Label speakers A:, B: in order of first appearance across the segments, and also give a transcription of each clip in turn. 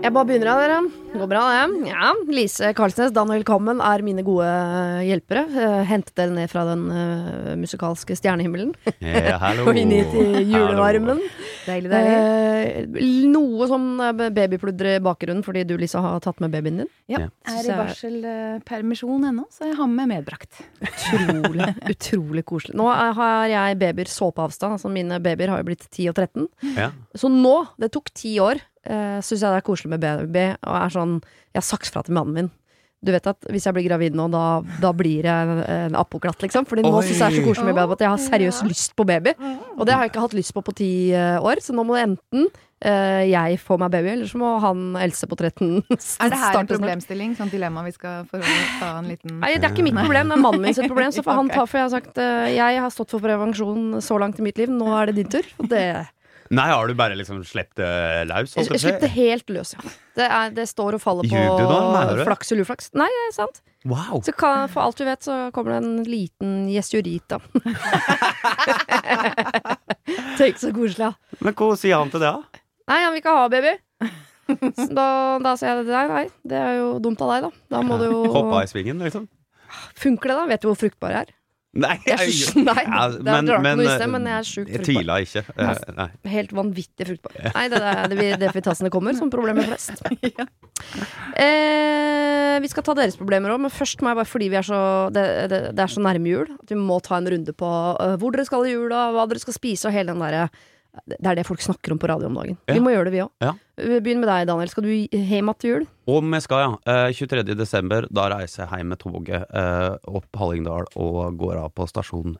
A: Jeg bare begynner, av dere. Det går bra, det. Ja. Lise Karlsnes, Daniel Kammen er mine gode hjelpere. Eh, Hentet dere ned fra den eh, musikalske stjernehimmelen
B: Ja, Eh, hallo.
A: og inn hit i julevarmen.
C: Deilig, deilig.
A: Eh, noe sånn eh, babypludder i bakgrunnen fordi du, Lise, har tatt med babyen din.
B: Ja.
C: Ja,
A: Synes
D: Er i
A: jeg-
D: barselpermisjon ennå, så jeg har med medbrakt.
A: Utrolig, utrolig koselig. Nå er- har jeg babyer såpeavstand. Altså mine babyer har jo blitt 10 og 13.
B: Ja.
A: Så nå, det tok ti år, uh, syns jeg det er koselig med baby. Og er sånn, jeg har sagt fra til mannen min. Du vet at Hvis jeg blir gravid nå, da, da blir jeg en apoklat, liksom. Fordi nå
B: Oi.
A: syns jeg det er så koselig med baby at jeg har seriøst
D: Ja.
A: lyst på baby. Og det har jeg ikke hatt lyst på på ti eh, år, så nå må enten eh, jeg få meg baby, eller så må han eldste på 13
D: Er det her en
A: starte snart.
D: problemstilling? Sånn dilemma vi skal forholde ta en liten
A: Nei, det er ikke mitt problem, det er mannen min sitt problem. Så får han
D: Ok.
A: ta for jeg har sagt eh, jeg har stått for prevensjon så langt i mitt liv, nå er det din tur. Og det
B: Nei, har du bare liksom slept det løs? holdt jeg på å
A: Slipp
B: si?
A: det helt løs, ja. Det, er, det står og faller
B: Ljug du nå, mener
A: på
B: du?
A: flaks eller uflaks. Nei, det er sant.
B: Wow.
A: Så kan, for alt du vet, så kommer det en liten gjesjuritt, da. Tenk så koselig, ja.
B: Men hva sier han til det, da?
A: Nei, han vil ikke ha baby. Så Da, da sier jeg det deg, nei, det er jo dumt av deg, da. Da må du jo
B: Hoppa i svingen, liksom?
A: Funker det, da? Vet du hvor fruktbar jeg er?
B: Nei,
A: Jeg er sj- nei,
B: Ja,
A: det er rart
B: men-
A: noe
B: eh,
A: i sted, men
B: men,
A: jeg er sjukt
B: Jeg
A: fruktbar.
B: tviler ikke. Eh, Nei.
A: Helt vanvittig fruktbar. Nei, det, er- det, blir- det får vi ta som det kommer, som problemer flest. Eh, vi skal ta deres problemer òg, men først må jeg bare fordi vi er så, det, det, det er så nærme jul at vi må ta en runde på eh, hvor dere skal i jula, hva dere skal spise og hele den derre Det er det folk snakker om på radio om dagen. Vi
B: Ja.
A: må gjøre det, vi òg.
B: Ja.
A: Begynn med deg, Daniel. Skal du hjem igjen til jul?
B: Om jeg skal, ja. Eh, 23. desember, da reiser jeg hjem med toget eh, opp Hallingdal og går av på stasjonen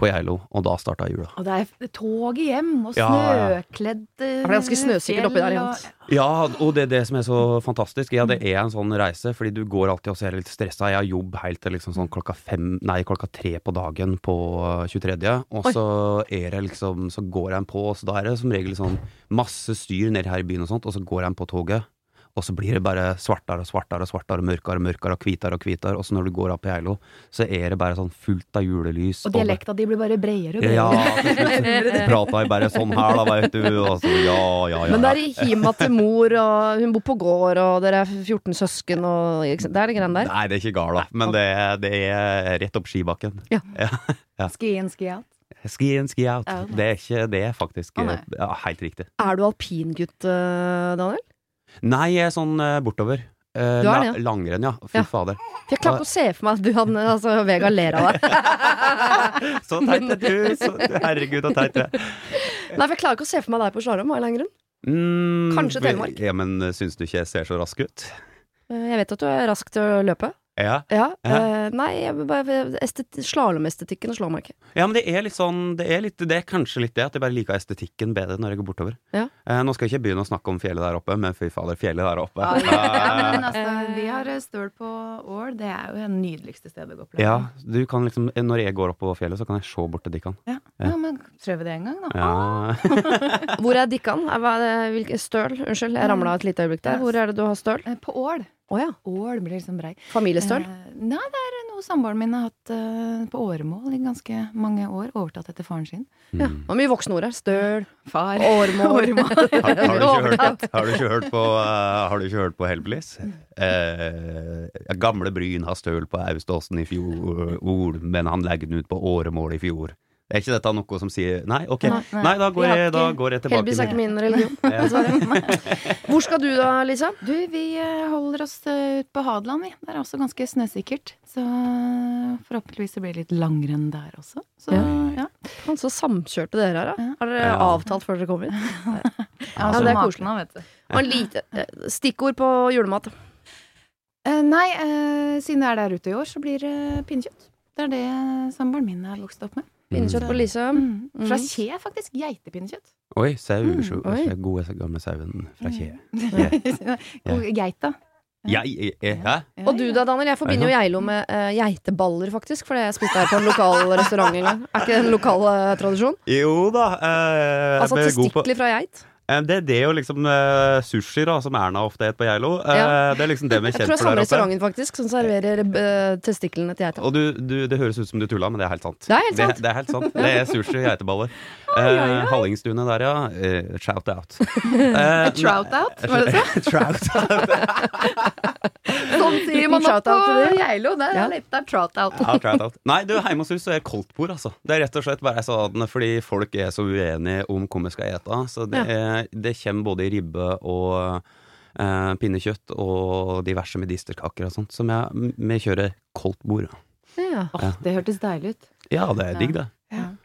B: på Geilo, og da starta jula.
D: Og det er toget hjem, og
B: Ja, ja.
D: snøkledd eh,
A: For det er ganske snøsikkert oppi der.
D: fjell,
A: Jan.
D: og-
B: Ja, og det er det som er så fantastisk. Ja, det er en sånn reise, fordi du går alltid og så er jeg litt stressa. Jeg har jobb helt til liksom sånn klokka fem, nei, klokka tre på dagen på eh, 23., og
A: Oi.
B: så er det liksom Så går jeg på, og så da er det som regel sånn masse styr nede her i byen og sånt, og så går jeg på toget. Og så blir det bare svartere og svartere og svartere og mørkere og mørkere og hvitere og hvitere. Og så når du går opp i Geilo, så er det bare sånn fullt av julelys.
D: Og
B: det-
D: dialekta di blir bare bredere og
B: Ja,
D: bredere.
B: til slutt så prata jeg bare sånn her, da, veit du. Og så ja, ja, ja.
A: Men det
B: ja.
A: er hjem igjen til mor, og hun bor på gård, og dere er 14 søsken, og ikke sant? Det er de greiene der.
B: Nei, det er ikke gala, men det, det er rett opp skibakken.
A: Ja.
D: Ski in, ski out.
B: Ski in, ski out.
D: Ja.
B: Det er ikke det, er faktisk.
D: Å, nei.
B: eh, ja, helt riktig.
A: Er du alpingutt, eh, Daniel?
B: Nei, jeg er sånn eh, bortover. Eh,
A: Du er
B: la-
A: det,
B: Langrenn, ja. Fy
A: Ja.
B: fader.
A: Jeg klarer ikke å se for meg at du hadde altså, Vegard ler av deg.
B: Så teit er du! Så, herregud, så teit du er.
A: Nei, for jeg klarer ikke å se for meg deg på slalåm. av en eller annen grunn.
B: Mm,
A: Kanskje
B: vi-
A: Telemark?
B: Ja, men eh, syns du ikke jeg ser så rask ut?
A: Eh, Jeg vet at du er rask til å løpe.
B: Ja.
A: Ja.
B: Ja.
A: eh, Nei, jeg vil bare estet- slalåmestetikken slår meg ikke.
B: ja, men det er litt sånn Det er, litt, det er kanskje litt det at jeg bare liker estetikken bedre når jeg går bortover.
A: Ja.
B: Eh, nå skal jeg ikke begynne å snakke om fjellet der oppe, men fy fader, fjellet der oppe.
D: Ja, ja, men
B: Eh,
D: altså, vi har eh, støl på Ål. Det er jo det nydeligste stedet å gå på.
B: ja, du kan liksom Når jeg går oppover fjellet, så kan jeg se bort til Dikkan.
D: Ja. ja, men prøver det en gang, da.
B: Ja.
A: Hvor er Dikkan? Er- hva er det- hvilke- Støl? Unnskyld, jeg ramla et lite øyeblikk der. Hvor er det du har støl?
D: Eh, På Ål.
A: Å ja.
D: Ål blir liksom brei.
A: Familiestøl.
D: Eh, Nei, det er noe samboeren min har hatt eh, på åremål i ganske mange år. Overtatt etter faren sin.
A: Ja. Det var mye voksenord her. Støl,
D: Far.
A: årmål
D: Åremål.
B: Har, har, du ikke
A: Overalt.
B: hørt, har du ikke hørt på eh, Har du ikke hørt på Hellbillies? Eh, gamle Bryn har støl på Auståsen i fjor, ord, men han legger den ut på åremål i fjor. Er ikke dette noe som sier Nei, ok. Nei,
D: Nei, nei.
B: da,
A: Vi
B: går
A: har
B: jeg, da
A: ikke-
B: går jeg tilbake.
A: Heldigvis er ikke
B: til-
A: min religion. dessverre. Hvor skal du da, Lisa?
D: Du, vi eh, holder oss eh, ut på Hadeland, vi. Det er også ganske snøsikkert. Så eh, forhåpentligvis det blir litt langrenn der også. Så ja. ja.
A: Faen, Så samkjørte dere her, da. Har dere
B: Ja.
A: avtalt før dere kom hit?
B: Ja,
D: så
A: det er
D: maken
A: koselig.
D: av, vet du.
A: Og en lite eh, stikkord på julemat.
D: Eh, nei, eh, siden det er der ute i år, så blir det pinnekjøtt. Det er det eh, samboeren min har vokst opp med.
A: Pinnekjøtt på Lise.
D: Mm. Fra
A: Mm.
D: Kje, faktisk. Geitepinnekjøtt.
B: Oi, sau.
D: Mm,
B: så-
A: oi.
B: så Gode så gamle sauen fra Kje.
D: Og Geita.
B: Jeg, jeg, jeg, hæ?
A: Og du da, Daniel. Jeg forbinder jo Geilo med eh, geiteballer, faktisk. For det jeg spiste her på en lokal restaurant en gang. Er ikke det en lokal eh, tradisjon?
B: Jo da. eh, jeg
A: Altså
B: ble god på-
A: testikler fra geit.
B: Eh, Det er det jo liksom eh, sushi, da, som Erna ofte het på Geilo. Eh,
A: Ja.
B: Det er liksom det vi er
A: Jeg
B: kjent
A: tror det er
B: for
A: samme
B: der oppe.
A: restauranten faktisk som serverer eh, testiklene til geita.
B: Og du, du, det høres ut som du tulla, men det er helt sant.
A: Det er helt sant.
B: Det, det er, helt sant. Det er sushi, geiteballer. Eh, Hallingstuene der, ja. Eh, shout out. Eh,
D: Trout out, var det det?
B: Trout out.
D: Sånn sier man
A: Liten
D: opp på
A: shout-out til det.
D: Geilo. Det
A: Ja.
D: er litt av trout out.
B: Ja, trout out. Nei, du, hjemme hos oss så er det koldtbord, altså. Det er rett og slett bare sånn fordi folk er så uenige om hvor vi skal ete. Så det, er, det kommer både ribbe og eh, pinnekjøtt og diverse medisterkaker og sånt, som jeg, vi kjører koldtbord.
A: Ja.
D: det hørtes deilig ut.
B: Ja, det er digg, det.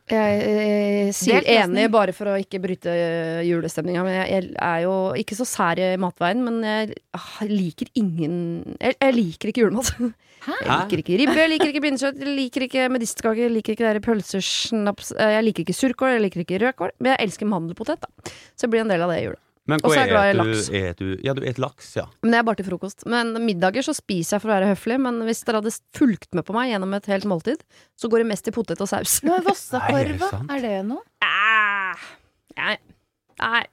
A: Jeg, eh, sier
D: Delt løsning.
A: enig bare for å ikke bryte eh, julestemninga, men jeg, jeg er jo ikke så sær i matveien. Men jeg ah, liker ingen Jeg, jeg liker ikke julemat. Jeg liker ikke ribbe, jeg liker ikke pinnekjøtt, jeg liker ikke medisterkake, jeg liker ikke der pølser, snaps eh, Jeg liker ikke surkål, jeg liker ikke rødkål, men jeg elsker mandelpotet, da. Så jeg blir en del av det i jula.
B: Men
A: Og så
B: hva
A: er jeg glad i
B: et du,
A: laks.
B: et du? Ja, du et laks, ja.
A: Men det er bare til frokost. Men middager så spiser jeg for å være høflig, men hvis dere hadde fulgt med på meg gjennom et helt måltid, så går det mest i potet og saus.
D: Men
B: Nei, er det
D: Vossakorva,
B: sant?
D: er det noe?
A: Ah, Nei. Nei.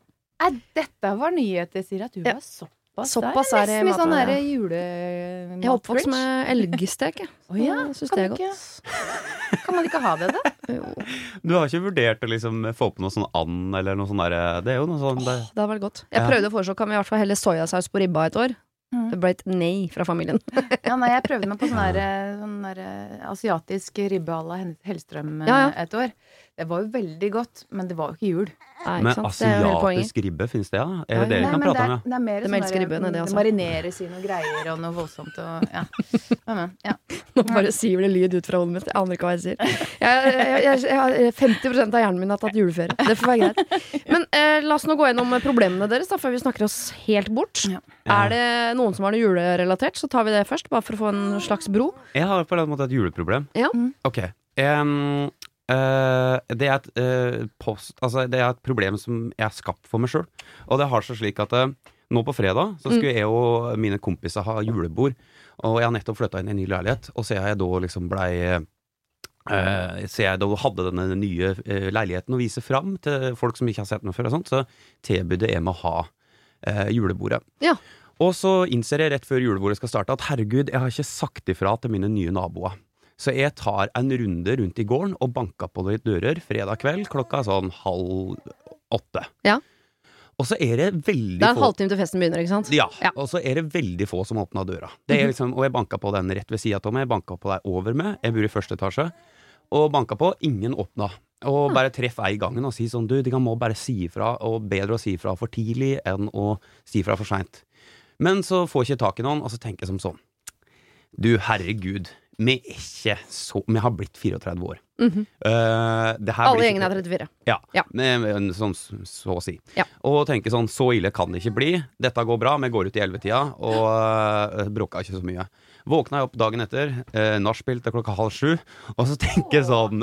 D: Nei, dette var nyheter, Sira. Du
A: Ja.
D: var såpass
A: Såpass
D: der.
A: er det
D: Nesten litt sånn
A: matveien,
D: derre
A: Jeg er oppvokst
D: julematbridge.
A: med elgstek, jeg.
D: Å ja,
A: Jeg synes
D: kan
A: det er
D: ikke-
A: godt.
D: Kan man ikke ha det, da?
A: Jo,
B: Du har ikke vurdert å liksom få på noe sånn and eller noe sånn derre Det er jo noe sånn det,
A: det hadde vært godt. Jeg
B: Ja.
A: prøvde å foreslå kan vi i hvert fall helle soyasaus på ribba et år.
D: Mm.
A: Det ble et nei fra familien.
D: Ja, nei, jeg prøvde meg på sånn der, sånn der eh, asiatisk ribbe à la Hen- Hellstrøm eh,
A: Ja, ja.
D: et år. Det var jo veldig godt, men det var jo ikke jul.
A: Nei, ikke
B: Men
A: sant? Det er jo hele poenget.
B: asiatisk ribbe, fins det, ja? Er
A: Ja,
B: det det
A: ja.
B: vi
D: Nei,
B: kan
D: men
B: prate om,
D: det er-
B: ja?
D: Det er mer
A: De
D: sånn
A: elsker
D: der,
A: ribben, det
D: mm,
A: også.
D: marineres i noe greier og noe voldsomt og ja. Men, men, ja.
A: Nå bare siver det lyd ut fra hodet mitt. Jeg aner ikke hva jeg sier. Jeg, jeg, jeg, jeg, 50 av hjernen min har tatt juleferie. Det får være greit. Men eh, la oss nå gå gjennom problemene deres da, før vi snakker oss helt bort.
D: Ja.
A: Er det noen som har noe julerelatert, så tar vi det først. Bare for å få en slags bro.
B: Jeg har på en eller annen måte et juleproblem.
A: Ja.
D: Mm.
B: Ok. Em, eh, det, er et, eh, post, altså, det er et problem som jeg har skapt for meg sjøl. Og det har seg slik at eh, nå på fredag så skulle jeg og mine kompiser ha julebord. Og jeg har nettopp flytta inn i en ny leilighet, og så jeg da liksom blei eh, så jeg da hadde denne nye eh, leiligheten å vise fram til folk som ikke har sett meg før, og sånt, så tilbød jeg meg å ha eh, julebordet.
A: Ja.
B: Og så innser jeg rett før julebordet skal starte at herregud, jeg har ikke sagt ifra til mine nye naboer. Så jeg tar en runde rundt i gården og banker på litt dører fredag kveld klokka sånn halv åtte.
A: Ja.
B: Og så er det veldig
A: Det er en
B: få
A: halvtime til festen begynner, ikke sant?
B: ja,
A: Ja. Mhm.
B: og så er det veldig få som åpna døra. Det er liksom, og jeg banka på den rett ved sida av meg, jeg banka på deg over meg, jeg bor i første etasje, og banka på, ingen åpna.
A: Ah.
B: Og bare treff ei gangen og si sånn, du, de kan må bare si ifra, og bedre å si ifra for tidlig enn å si ifra for seint. Men så får jeg ikke tak i noen, og så tenker jeg som sånn, du herregud, vi er ikke så Vi har blitt 34 år.
A: Mhm.
B: Eh, det her
A: Alle
B: blir ikke-
A: gjengene er 34.
B: ja,
A: Ja.
B: men- men sånn, s- så å si.
A: Ja.
B: Og tenke sånn, så ille kan det ikke bli. Dette går bra, vi går ut i ellevetida, og øh, bråka ikke så mye. Våkna jeg opp dagen etter, øh, nachspiel til klokka halv sju, og så tenker jeg sånn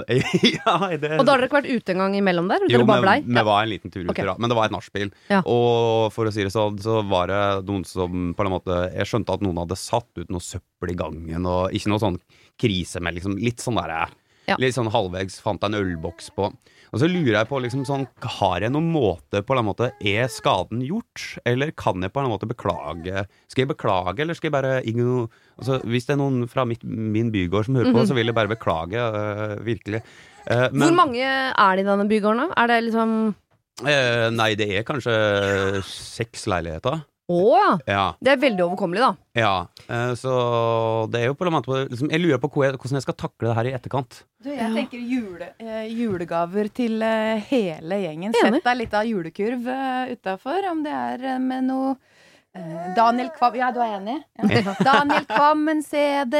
B: ja, det,
A: Og da har dere ikke vært ute en gang imellom der?
B: jo,
A: Dere bare blei?
B: men vi var en liten tur ut,
A: Ok.
B: da. Men det var et nachspiel.
A: Ja.
B: Og for å si det sånn, så var det noen som på en måte Jeg skjønte at noen hadde satt ut noe søppel i gangen, og ikke noe sånn krise, men liksom litt sånn derre
A: Ja.
B: Litt sånn halvvegs fant jeg en ølboks på. Og så lurer jeg på liksom sånn Har jeg noen måte på en eller annen måte Er skaden gjort, eller kan jeg på en eller annen måte beklage? Skal jeg beklage, eller skal jeg bare igno... Altså, hvis det er noen fra mitt, min bygård som hører på, så vil jeg bare beklage, øh, virkelig. Eh, men-
A: Mhm. Hvor mange er det i denne bygården, da? Er det liksom
B: Eh, nei, det er kanskje seks leiligheter.
A: Å ja!
B: Ja.
A: Det er veldig overkommelig, da.
B: ja. Eh, så det er jo på en måte liksom, Jeg lurer på hvor jeg, hvordan jeg skal takle det her i etterkant.
D: Du, jeg tenker jule, eh, julegaver til eh, hele gjengen. Sett
A: Enig.
D: deg litt av julekurv uh, utafor, om det er eh, med noe eh, Daniel Kvam Ja, du er enig? Ja. Daniel Kvam en CD,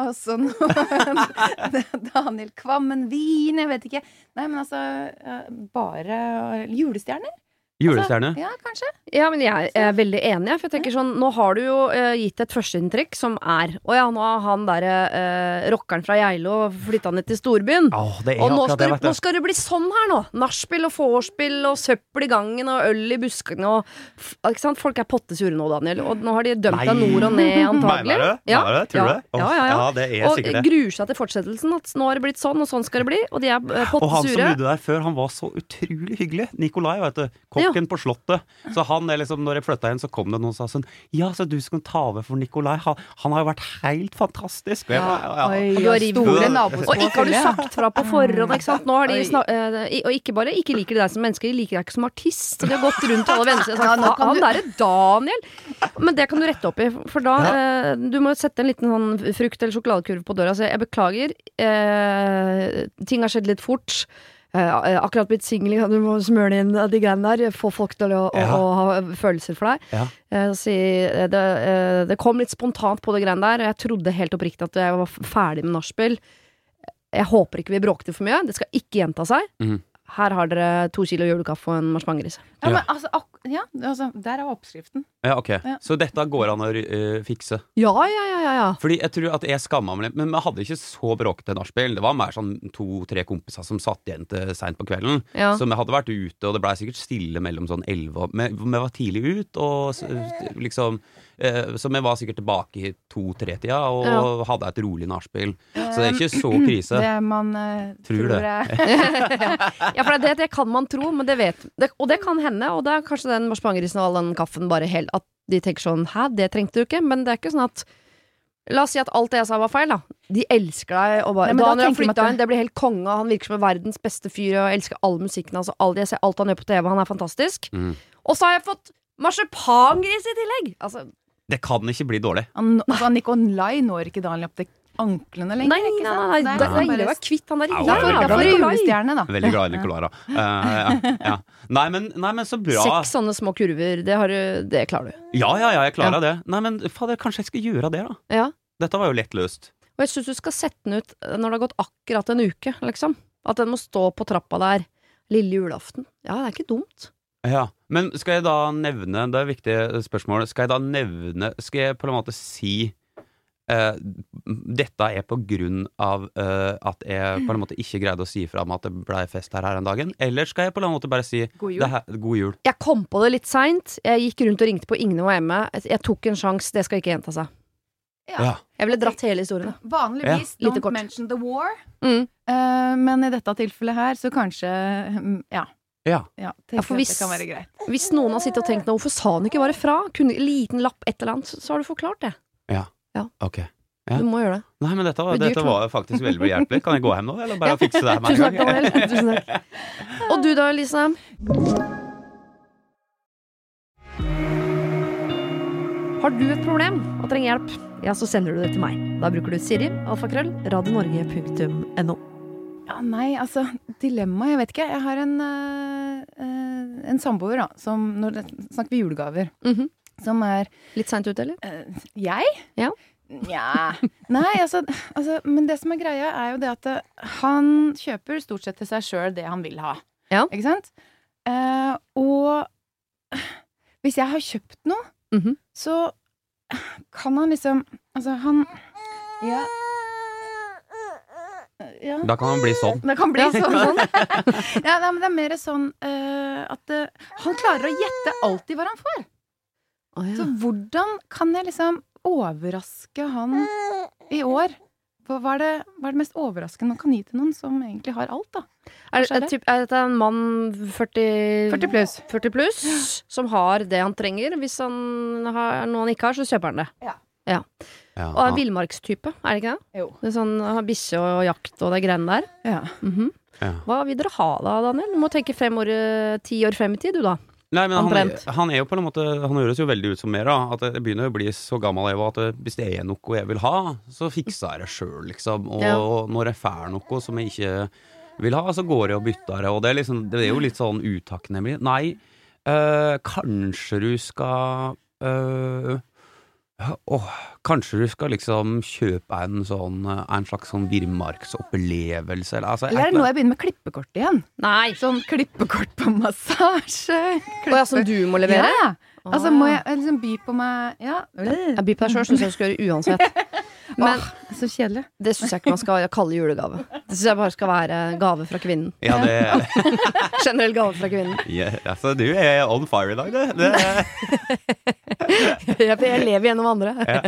D: og så noe Daniel Kvam en vin, jeg vet ikke. Nei, men altså eh, Bare eh, julestjerner?
B: Julestjerne.
D: Ja, kanskje?
A: Ja, men jeg er veldig enig, jeg, for jeg tenker sånn Nå har du jo eh, gitt et førsteinntrykk som er Å ja, nå har han derre eh, rockeren fra Geilo flytta ned til storbyen.
B: Åh, det er
A: Altså, Og nå
B: akkurat
A: skal,
B: det,
A: det,
B: vet
A: nå
B: du.
A: skal det bli sånn her nå! Nachspiel og vorspiel og søppel i gangen og øl i buskene og f- Ikke sant? Folk er pottesure nå, Daniel, og nå har de dømt
B: Nei.
A: deg nord og ned, antagelig.
B: Mener du?
A: Ja,
B: Mener du? Tror du
A: ja.
B: det? Åh,
A: Ja, ja, ja.
B: det er
A: Og
B: sikkert det.
A: gruer seg til fortsettelsen. At nå har det blitt sånn, og sånn skal det bli. Og de er eh,
B: Og han som
A: pottesure.
B: bodde der før, han var så utrolig hyggelig. Nikolai, vet du. Kokk
A: Ja.
B: frøken på Slottet. Så han, er liksom, når jeg flytta igjen, så kom det noen og sa sånn Ja, så du skal ta over for Nikolai. Han, han har jo vært helt fantastisk. Og jeg, bare, ja, ja.
C: Oi,
A: Og du har
C: og store
A: riv- Og ikke har du
C: naboskapsfølge.
A: sagt fra på forhånd, ikke sant. Nå har de
D: Oi.
A: snak- eh, i- og ikke bare ikke liker de deg som menneske, de liker deg ikke som artist. Så de har gått rundt til alle vennene sine og
D: Ja,
A: sagt
D: nå kan
A: han
D: du-
A: derre Daniel. Men det kan du rette opp i, for da eh, Du må sette en liten sånn frukt- eller sjokoladekurv på døra. Så jeg beklager. Eh, ting har skjedd litt fort. Eh, akkurat blitt singel, ikke sant? du må smøre inn de greiene der. Få folk til å, å,
B: Ja.
A: å ha følelser for deg.
B: Ja.
A: Eh, Si, eh, det, eh, det kom litt spontant på det greiene der, og jeg trodde helt oppriktig at jeg var f- ferdig med nachspiel. Jeg håper ikke vi bråkte for mye. Det skal ikke gjenta seg.
B: Mhm.
A: Her har dere to kilo julekaffe og en marsipangris.
D: Ja, men altså, ak ja, altså der er oppskriften.
B: ja, ok.
D: Ja.
B: Så dette går an å eh, fikse.
A: Ja, ja, ja, ja, ja.
B: Fordi jeg tror at jeg skamma meg litt, men vi hadde ikke så bråkete nachspiel. Det var mer sånn to-tre kompiser som satt igjen til seint på kvelden.
A: Ja.
B: Så vi hadde vært ute, og det blei sikkert stille mellom sånn elleve og vi, vi var tidlig ut, og s- liksom eh, Så vi var sikkert tilbake i to-tre-tida og
A: Ja.
B: hadde et rolig nachspiel. Så det er ikke så krise.
D: Det man eh,
B: Tror
D: tror,
B: det.
D: er
A: Ja, for det, det kan man tro, men det vet det, Og det kan hende, og det er kanskje den marsipangrisen og all den kaffen bare helt At de tenker sånn Hæ, det trengte du ikke, men det er ikke sånn at La oss si at alt det jeg sa var feil, da. De elsker deg. Og bare,
D: Nei, men da
A: Daniel har
D: tenker man
A: flytta
D: at-
A: inn, det blir helt konge. og Han virker som verdens beste fyr, og jeg elsker all musikken hans. og alt- jeg ser alt han gjør på TV, han er fantastisk.
B: Mm.
A: Og så har jeg fått marsipangris i tillegg! Altså,
B: Det kan ikke bli dårlig.
D: Han, altså, Nicolai når ikke Daniel opp til anklene
A: nei,
D: lenger.
A: nei,
D: ikke
A: nei,
D: sant?
A: nei,
D: Det er liksom
A: det er
D: bare
A: deilig å være kvitt han der.
B: Au,
A: Derfor
B: au,
A: er
B: au,
A: han
D: Derfor
B: glad i
A: for Nikolai.
D: julestjerne, da.
B: Veldig glad i Nicolara. ja, ja. Nei, men, nei, men så bra.
A: Seks sånne små kurver, det, har, du- det klarer du.
B: Ja, ja, ja, jeg klarer det. Nei, men fader, kanskje jeg skal gjøre det, da.
A: Ja.
B: Dette var jo lett løst.
A: Og jeg syns du skal sette den ut eh, når det har gått akkurat en uke, liksom. At den må stå på trappa der lille julaften. Ja, det er ikke dumt.
B: Ja, Men skal jeg da nevne Det er viktige spørsmål. Skal jeg da nevne Skal jeg på en måte si eh, dette er på grunn av eh, at jeg på en måte ikke greide å si fra om at det blei fest her her en dagen? Eller skal jeg på en måte bare si
D: God
B: det her, god jul?
A: Jeg kom på det litt seint. Jeg gikk rundt og ringte på ingen var hjemme. Jeg tok en sjanse, det skal ikke gjenta seg.
B: Ja.
A: Jeg ville dratt hele historien. da.
D: Vanligvis
A: Ja. Lite
D: don't
A: kort.
D: mention the war,
A: Mm.
D: eh, men i dette tilfellet her så kanskje mm, Ja.
B: Ja.
D: ja, tenker
A: Ja, for
D: at
A: hvis-
D: det kan være greit.
A: Hvis noen har sittet og tenkt nå, hvorfor sa han ikke bare fra? Kunne liten lapp, et eller annet, så- så har du forklart det.
B: Ok. Ja.
A: Du må gjøre det.
B: Nei, men dette var,
A: Det blir dyrt,
B: dette var faktisk veldig behjelpelig. Kan jeg gå hjem nå, eller bare fikse det her med
A: Tusen takk,
B: en gang?
A: Daniel. Tusen takk. Og du da, Elise? Har du et problem og trenger hjelp, ja, så sender du det til meg. Da bruker du Siri, alfakrøll, radionorge.no.
D: Ja, nei, altså Dilemma, jeg vet ikke. Jeg har en, eh, eh, en samboer, da, som Nå snakker vi julegaver.
A: Mhm.
D: Som er
A: Litt seint ute, eller?
D: Eh, jeg?
A: Ja.
D: Nja Nei, altså, altså Men det som er greia, er jo det at eh, han kjøper stort sett til seg sjøl det han vil ha.
A: Ja.
D: Ikke sant? Eh, og hvis jeg har kjøpt noe,
A: Mhm.
D: så kan han liksom Altså, han Ja. ja.
B: Da kan man bli sånn.
D: Det kan bli sånn. ja, nei, men det er mer sånn eh, at eh, han klarer å gjette alltid hva han får.
A: Å, ja.
D: Så hvordan kan jeg liksom overraske han i år? Hva hva er det, hva er det mest overraskende man kan gi til noen som egentlig har alt, da?
A: er,
D: skjer
A: er,
D: det?
A: typ, er dette en mann 40,
D: 40 pluss.
A: 40 pluss, som har det han trenger? Hvis han har noe han ikke har, så kjøper han det.
B: Ja,
A: Og er villmarkstype, er det ikke det?
D: Jo.
A: det er sånn, har bikkje og jakt og de greiene der.
D: Ja.
A: Mhm.
B: ja.
A: Hva vil dere ha da, Daniel? Du må tenke fem år, eh, ti år frem i tid, du da.
B: Nei, men han,
A: Omtrent.
B: han er jo på en måte Han høres jo veldig ut som mer da At jeg begynner å bli så gammel jeg var At eh, hvis det er noe jeg vil ha Så fikser jeg det selv liksom Og
A: Ja.
B: når jeg fær noe som jeg ikke vil ha Så går jeg og bytter det Og det er, liksom, det er jo litt sånn utakknemlig Nei, eh, kanskje du skal eh, Åh, kanskje du skal liksom kjøpe en sånn eh, En slags sånn virmarksopplevelse Eller, altså,
D: Eller er
B: et
D: det nå jeg begynner med klippekort igjen?
A: Nei!
D: Sånn klippekort på massasje.
A: Og ja, som du må levere?
D: Ja. Altså, må
A: Ah.
D: jeg jeg liksom by på meg Ja.
A: Jeg byr på deg sjøl, syns jeg du skal gjøre uansett. Ah. Men
D: Åh, så kjedelig.
A: det syns jeg ikke man skal kalle julegave. Det syns jeg bare skal være gave fra kvinnen.
B: ja, det,
A: Generell gave fra kvinnen.
B: ja, altså, du er on fire i dag det, det
A: Jeg jeg lever gjennom andre.
B: ja.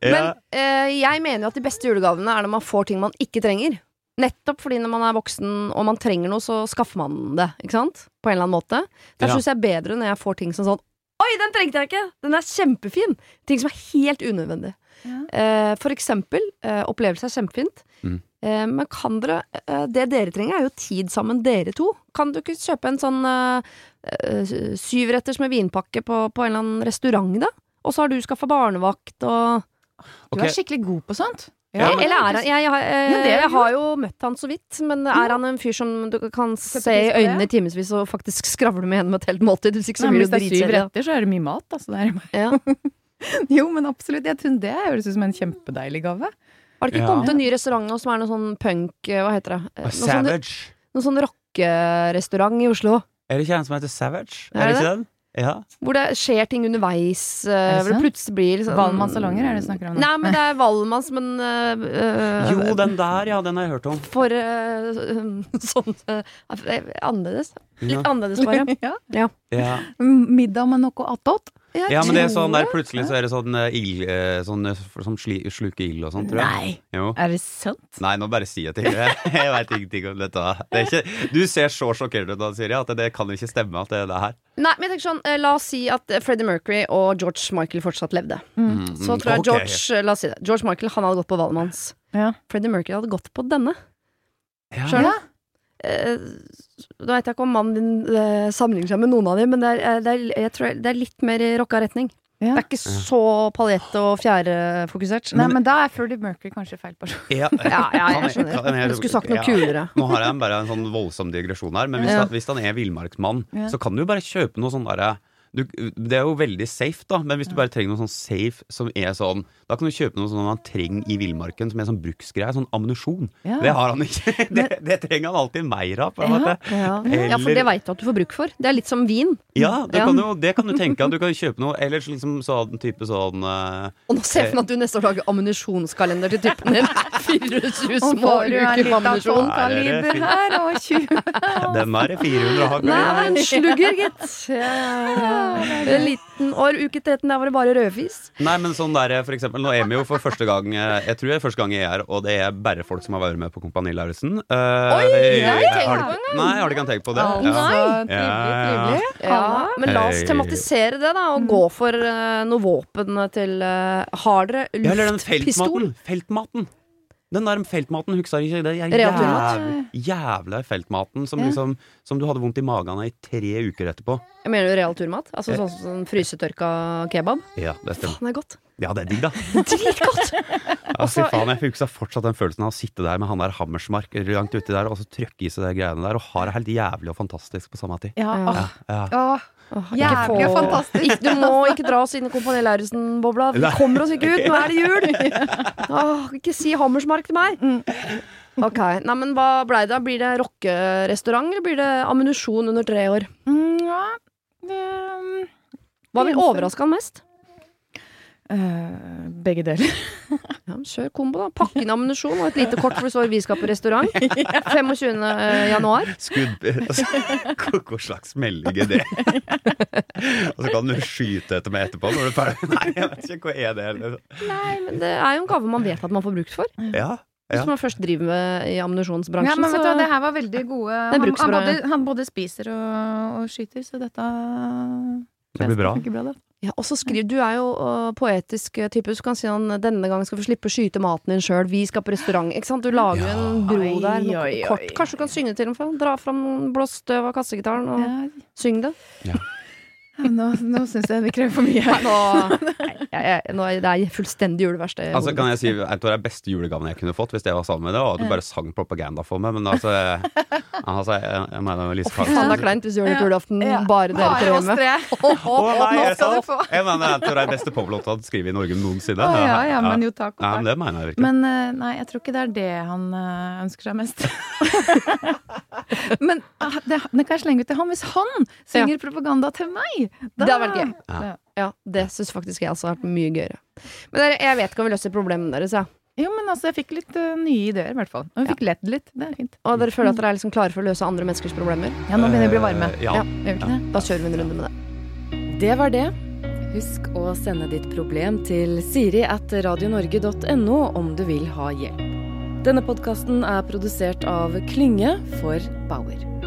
A: Men eh, jeg mener jo at de beste julegavene er når man får ting man ikke trenger. Nettopp fordi når man er voksen og man trenger noe, så skaffer man det. Ikke sant? På en eller annen måte. Der
B: Ja.
A: syns jeg er bedre når jeg får ting som sånn Oi, den trengte jeg ikke! Den er kjempefin! Ting som er helt unødvendig.
D: Ja.
A: Eh, for eksempel, eh, opplevelse er kjempefint.
B: Mm.
A: Eh, men kan dere eh, Det dere trenger, er jo tid sammen, dere to. Kan du ikke kjøpe en sånn eh, eh, syvretters med vinpakke på, på en eller annen restaurant, da? Og så har du skaffa barnevakt og
D: Du
B: Ok.
D: er skikkelig god på sånt.
B: Ja,
A: Eller er han jeg, jeg, har- eh,
D: Ja, det er
A: jeg
D: jo-
A: har jo møtt han så vidt, men er han en fyr som du kan se i
D: pris på det?
A: øynene i timevis og faktisk skravle med henne med et helt måltid? Hvis ikke så
D: Nei, men
A: blir
D: hvis det er
A: du
D: syv
A: dritseriøs.
D: retter, så er det mye mat. Altså, det er bare...
A: Ja.
D: Jo, men absolutt. Jeg tror det høres ut som en kjempedeilig gave.
A: Har det ikke
B: Ja.
A: kommet en ny restaurant nå som er noe sånn punk eh, Hva heter det? Eh, Noe sånn,
B: Savage.
A: noe sånn rockerestaurant i Oslo.
B: Er det ikke en som heter Savage?
A: Er
B: Er
A: det
B: det ikke den? Ja.
A: Hvor det skjer ting underveis.
D: Er
A: eh,
D: det
A: hvor det
D: sant?
A: plutselig blir liksom
D: Valmanns salonger er det du snakker om nå?
A: Nei, men det er Valmanns, men eh, eh,
B: Jo, den der, ja. Den har jeg hørt om.
A: For eh, sånn eh, Annerledes.
B: Ja.
A: Litt annerledes, bare.
D: Ja.
B: Ja.
D: Mm, Middag med noe attåt.
B: ja, men det er
D: tror
B: sånn der
D: det.
B: plutselig så er det sånn eh, ild eh, Sånn eh, som sli, sluker ild og sånn, tror jeg.
D: Nei.
B: Jo.
D: Er det sant?
B: Nei, nå bare sier jeg ting. Jeg veit ingenting om dette. Det er ikke, du ser så sjokkert ut, da, Siri, at det kan jo ikke stemme at det er det her.
A: Nei, men jeg tenker sånn, eh, La oss si at eh, Freddie Mercury og George Michael fortsatt levde.
B: Mm,
A: Så
B: mm,
A: tror jeg
B: ok.
A: George eh, la oss si det, George Michael han hadde gått på Valmanns.
D: Ja.
A: Freddie Mercury hadde gått på denne.
B: Ja.
A: Skjønner du? Eh, Nå veit jeg ikke om mannen din eh, sammenligner seg med noen av dem, men det er, eh, det er, jeg tror det er litt mer i rocka retning.
D: Ja.
A: Det er ikke så paljett- og fjærefokusert.
D: Nei, men da er Freddie Mercury kanskje feil person.
B: Ja,
A: Ja, ja,
B: Kan
A: jeg
B: jeg-
A: skjønner.
B: kan jeg-
A: Du skulle sagt noe
B: ja.
A: kulere.
B: Nå har jeg bare en sånn voldsom digresjon her, men hvis,
A: Ja.
B: han, hvis han er villmarksmann,
D: Ja.
B: så kan du jo bare kjøpe noe sånn derre du, det er jo veldig safe, da, men hvis du bare trenger noe sånn safe som er sånn Da kan du kjøpe noe sånn man trenger i villmarken, som er sånn bruksgreie. Sånn ammunisjon.
D: Ja.
B: Det har han ikke. Det, det trenger han alltid mer av. på en
D: Ja.
B: måte.
A: Ja.
B: Eller-
A: ja, for det veit du at du får bruk for. Det er litt som vin.
B: Ja, det
A: Ja.
B: kan, du, det kan du tenke at du kan kjøpe noe. Ellers liksom sånn type sånn eh,
A: Og nå ser jeg for meg at du neste år lager ammunisjonskalender til typen din. 24
D: Og
A: små
D: får du en
A: uker med
D: litt
A: ammunisjon.
B: Her er det
D: attåtkaliber
B: fint.
D: her, og 20
B: Den der er 400 hagle.
A: Nei, en slugger, gitt. En liten år, uke 13, der var det bare rødfis.
B: Nei, men sånn der, for eksempel, nå er vi jo for første gang eh, Jeg tror det er første gang jeg er her, og det er bare folk som har vært med på Kompani Lauritzen. Eh,
A: har ikke tenkt
B: har
A: på
B: du- Nei, har du ikke tenkt på det?
D: Altså,
B: Ja.
D: trivelig,
B: Ja.
D: trivelig.
A: Ja, men la oss
B: Hei.
A: tematisere det, da, og gå for eh, noe våpen til eh, Har dere
B: ja, eller den
A: luftpistol?
B: feltmaten. Feltmaten. Den der feltmaten husker jeg ikke. Det er jævla,
A: Reaturmat.
B: jævla feltmaten som,
D: Ja.
B: liksom, som du hadde vondt i magen av i tre uker etterpå.
A: Jeg mener jo real turmat. Altså sånn som sånn frysetørka kebab.
B: Ja, det stemmer.
A: Faen, det er godt.
B: Ja, det er digg, da.
A: Dritgodt!
B: Ja, fy faen, jeg husker fortsatt den følelsen av å sitte der med han der Hammersmark langt uti der, og så trykke i seg de greiene der, og ha det helt jævlig og fantastisk på samme tid.
D: Ja,
A: Ja.
D: åh,
B: Ja.
D: åh.
A: Åh, ikke
D: Jævlig
A: få-
D: fantastisk.
A: Ikke- Du må ikke dra oss inn i Kompani Lauritzen-bobla. Vi
B: Nei.
A: kommer oss ikke ut, nå er det jul! Åh, ikke si Hammersmark til meg!
D: Mm.
A: Ok, nei, men Hva blei det? Blir det rockerestaurant, eller blir det ammunisjon under tre år?
D: Mm, ja. Det, um,
A: Hva vil overraske han mest?
D: eh, begge deler.
A: Ja, men Kjør kombo, da. Pakke inn ammunisjon og et lite kort hvor det står 'Vi skal på restaurant'. 25. januar.
B: skudd altså, Hva hva slags melding er det? Og så kan du skyte etter meg etterpå når du er ferdig. Nei, jeg vet ikke hva er det heller.
A: Nei, men Det er jo en gave man vet at man får brukt for.
B: Ja,
A: Hvis man først driver med i ammunisjonsbransjen.
D: Ja, men vet du, hva,
A: så-
D: det her var veldig gode
A: Det er
D: Han, han,
A: bruksbra,
D: både,
A: ja.
D: han både spiser og, og skyter, så dette
B: det blir bra.
D: funker bra, det.
A: Ja, og så skriv, Du er jo ø, poetisk ø, type, så du kan si han denne gangen skal få slippe å skyte maten din sjøl. Vi skal på restaurant. ikke sant? Du lager jo en bro
D: Oi,
A: der. Noe
D: oi, oi.
A: kort. Kanskje du kan synge til ham? for han. Dra fram blås støv av kassegitaren og
D: Ja.
A: syng det.
D: Nå, nå syns jeg det krever for mye.
A: Nei, nå, jeg, jeg, nå er det er fullstendig juleverksted. i
B: Altså
A: hodet
B: kan
A: mitt.
B: jeg si En av de beste julegavene jeg kunne fått hvis jeg var sammen med deg, og at du bare sang propaganda for meg, men altså, altså jeg, jeg mener
A: Å,
B: Lise
A: faen, det er
B: Karlsen
A: kleint hvis du gjør det på
D: Ja.
A: julaften.
B: Mm,
A: Bare dere
D: Bare
A: tre
D: oss
A: hjemme.
D: tre.
B: Å nei,
D: nå
B: jeg
D: skal
B: sa-
D: du få.
B: Jeg mener en av de beste poplåtene skrevet i Norge noensinne.
D: Å, ja, ja, men jo, takk. og
B: Ja,
D: takk.
B: men det mener jeg virkelig.
D: Men eh, nei, jeg tror ikke det er det han eh, ønsker seg mest. Men ah, det, det kan jeg slenge ut til ham hvis han synger propaganda til meg! Da-
A: Det hadde vært gøy.
B: Ja.
A: Ja, Det syns faktisk jeg også har vært mye gøyere. Men dere, jeg vet ikke om vi løser problemene deres. Ja.
D: Jo, men altså, jeg fikk litt eh, nye ideer, i hvert fall. Og vi fikk lett litt. Det er fint.
A: Og dere føler at dere er liksom klare for å løse andre menneskers problemer?
D: Ja, nå begynner vi å bli varme.
B: Eh, ja.
D: Gjør vi ikke det?
A: Da kjører vi en runde med det.
C: Det var det. Husk å sende ditt problem til siri at radionorge.no om du vil ha hjelp.
D: Denne podkasten er produsert av Klynge for Bauer.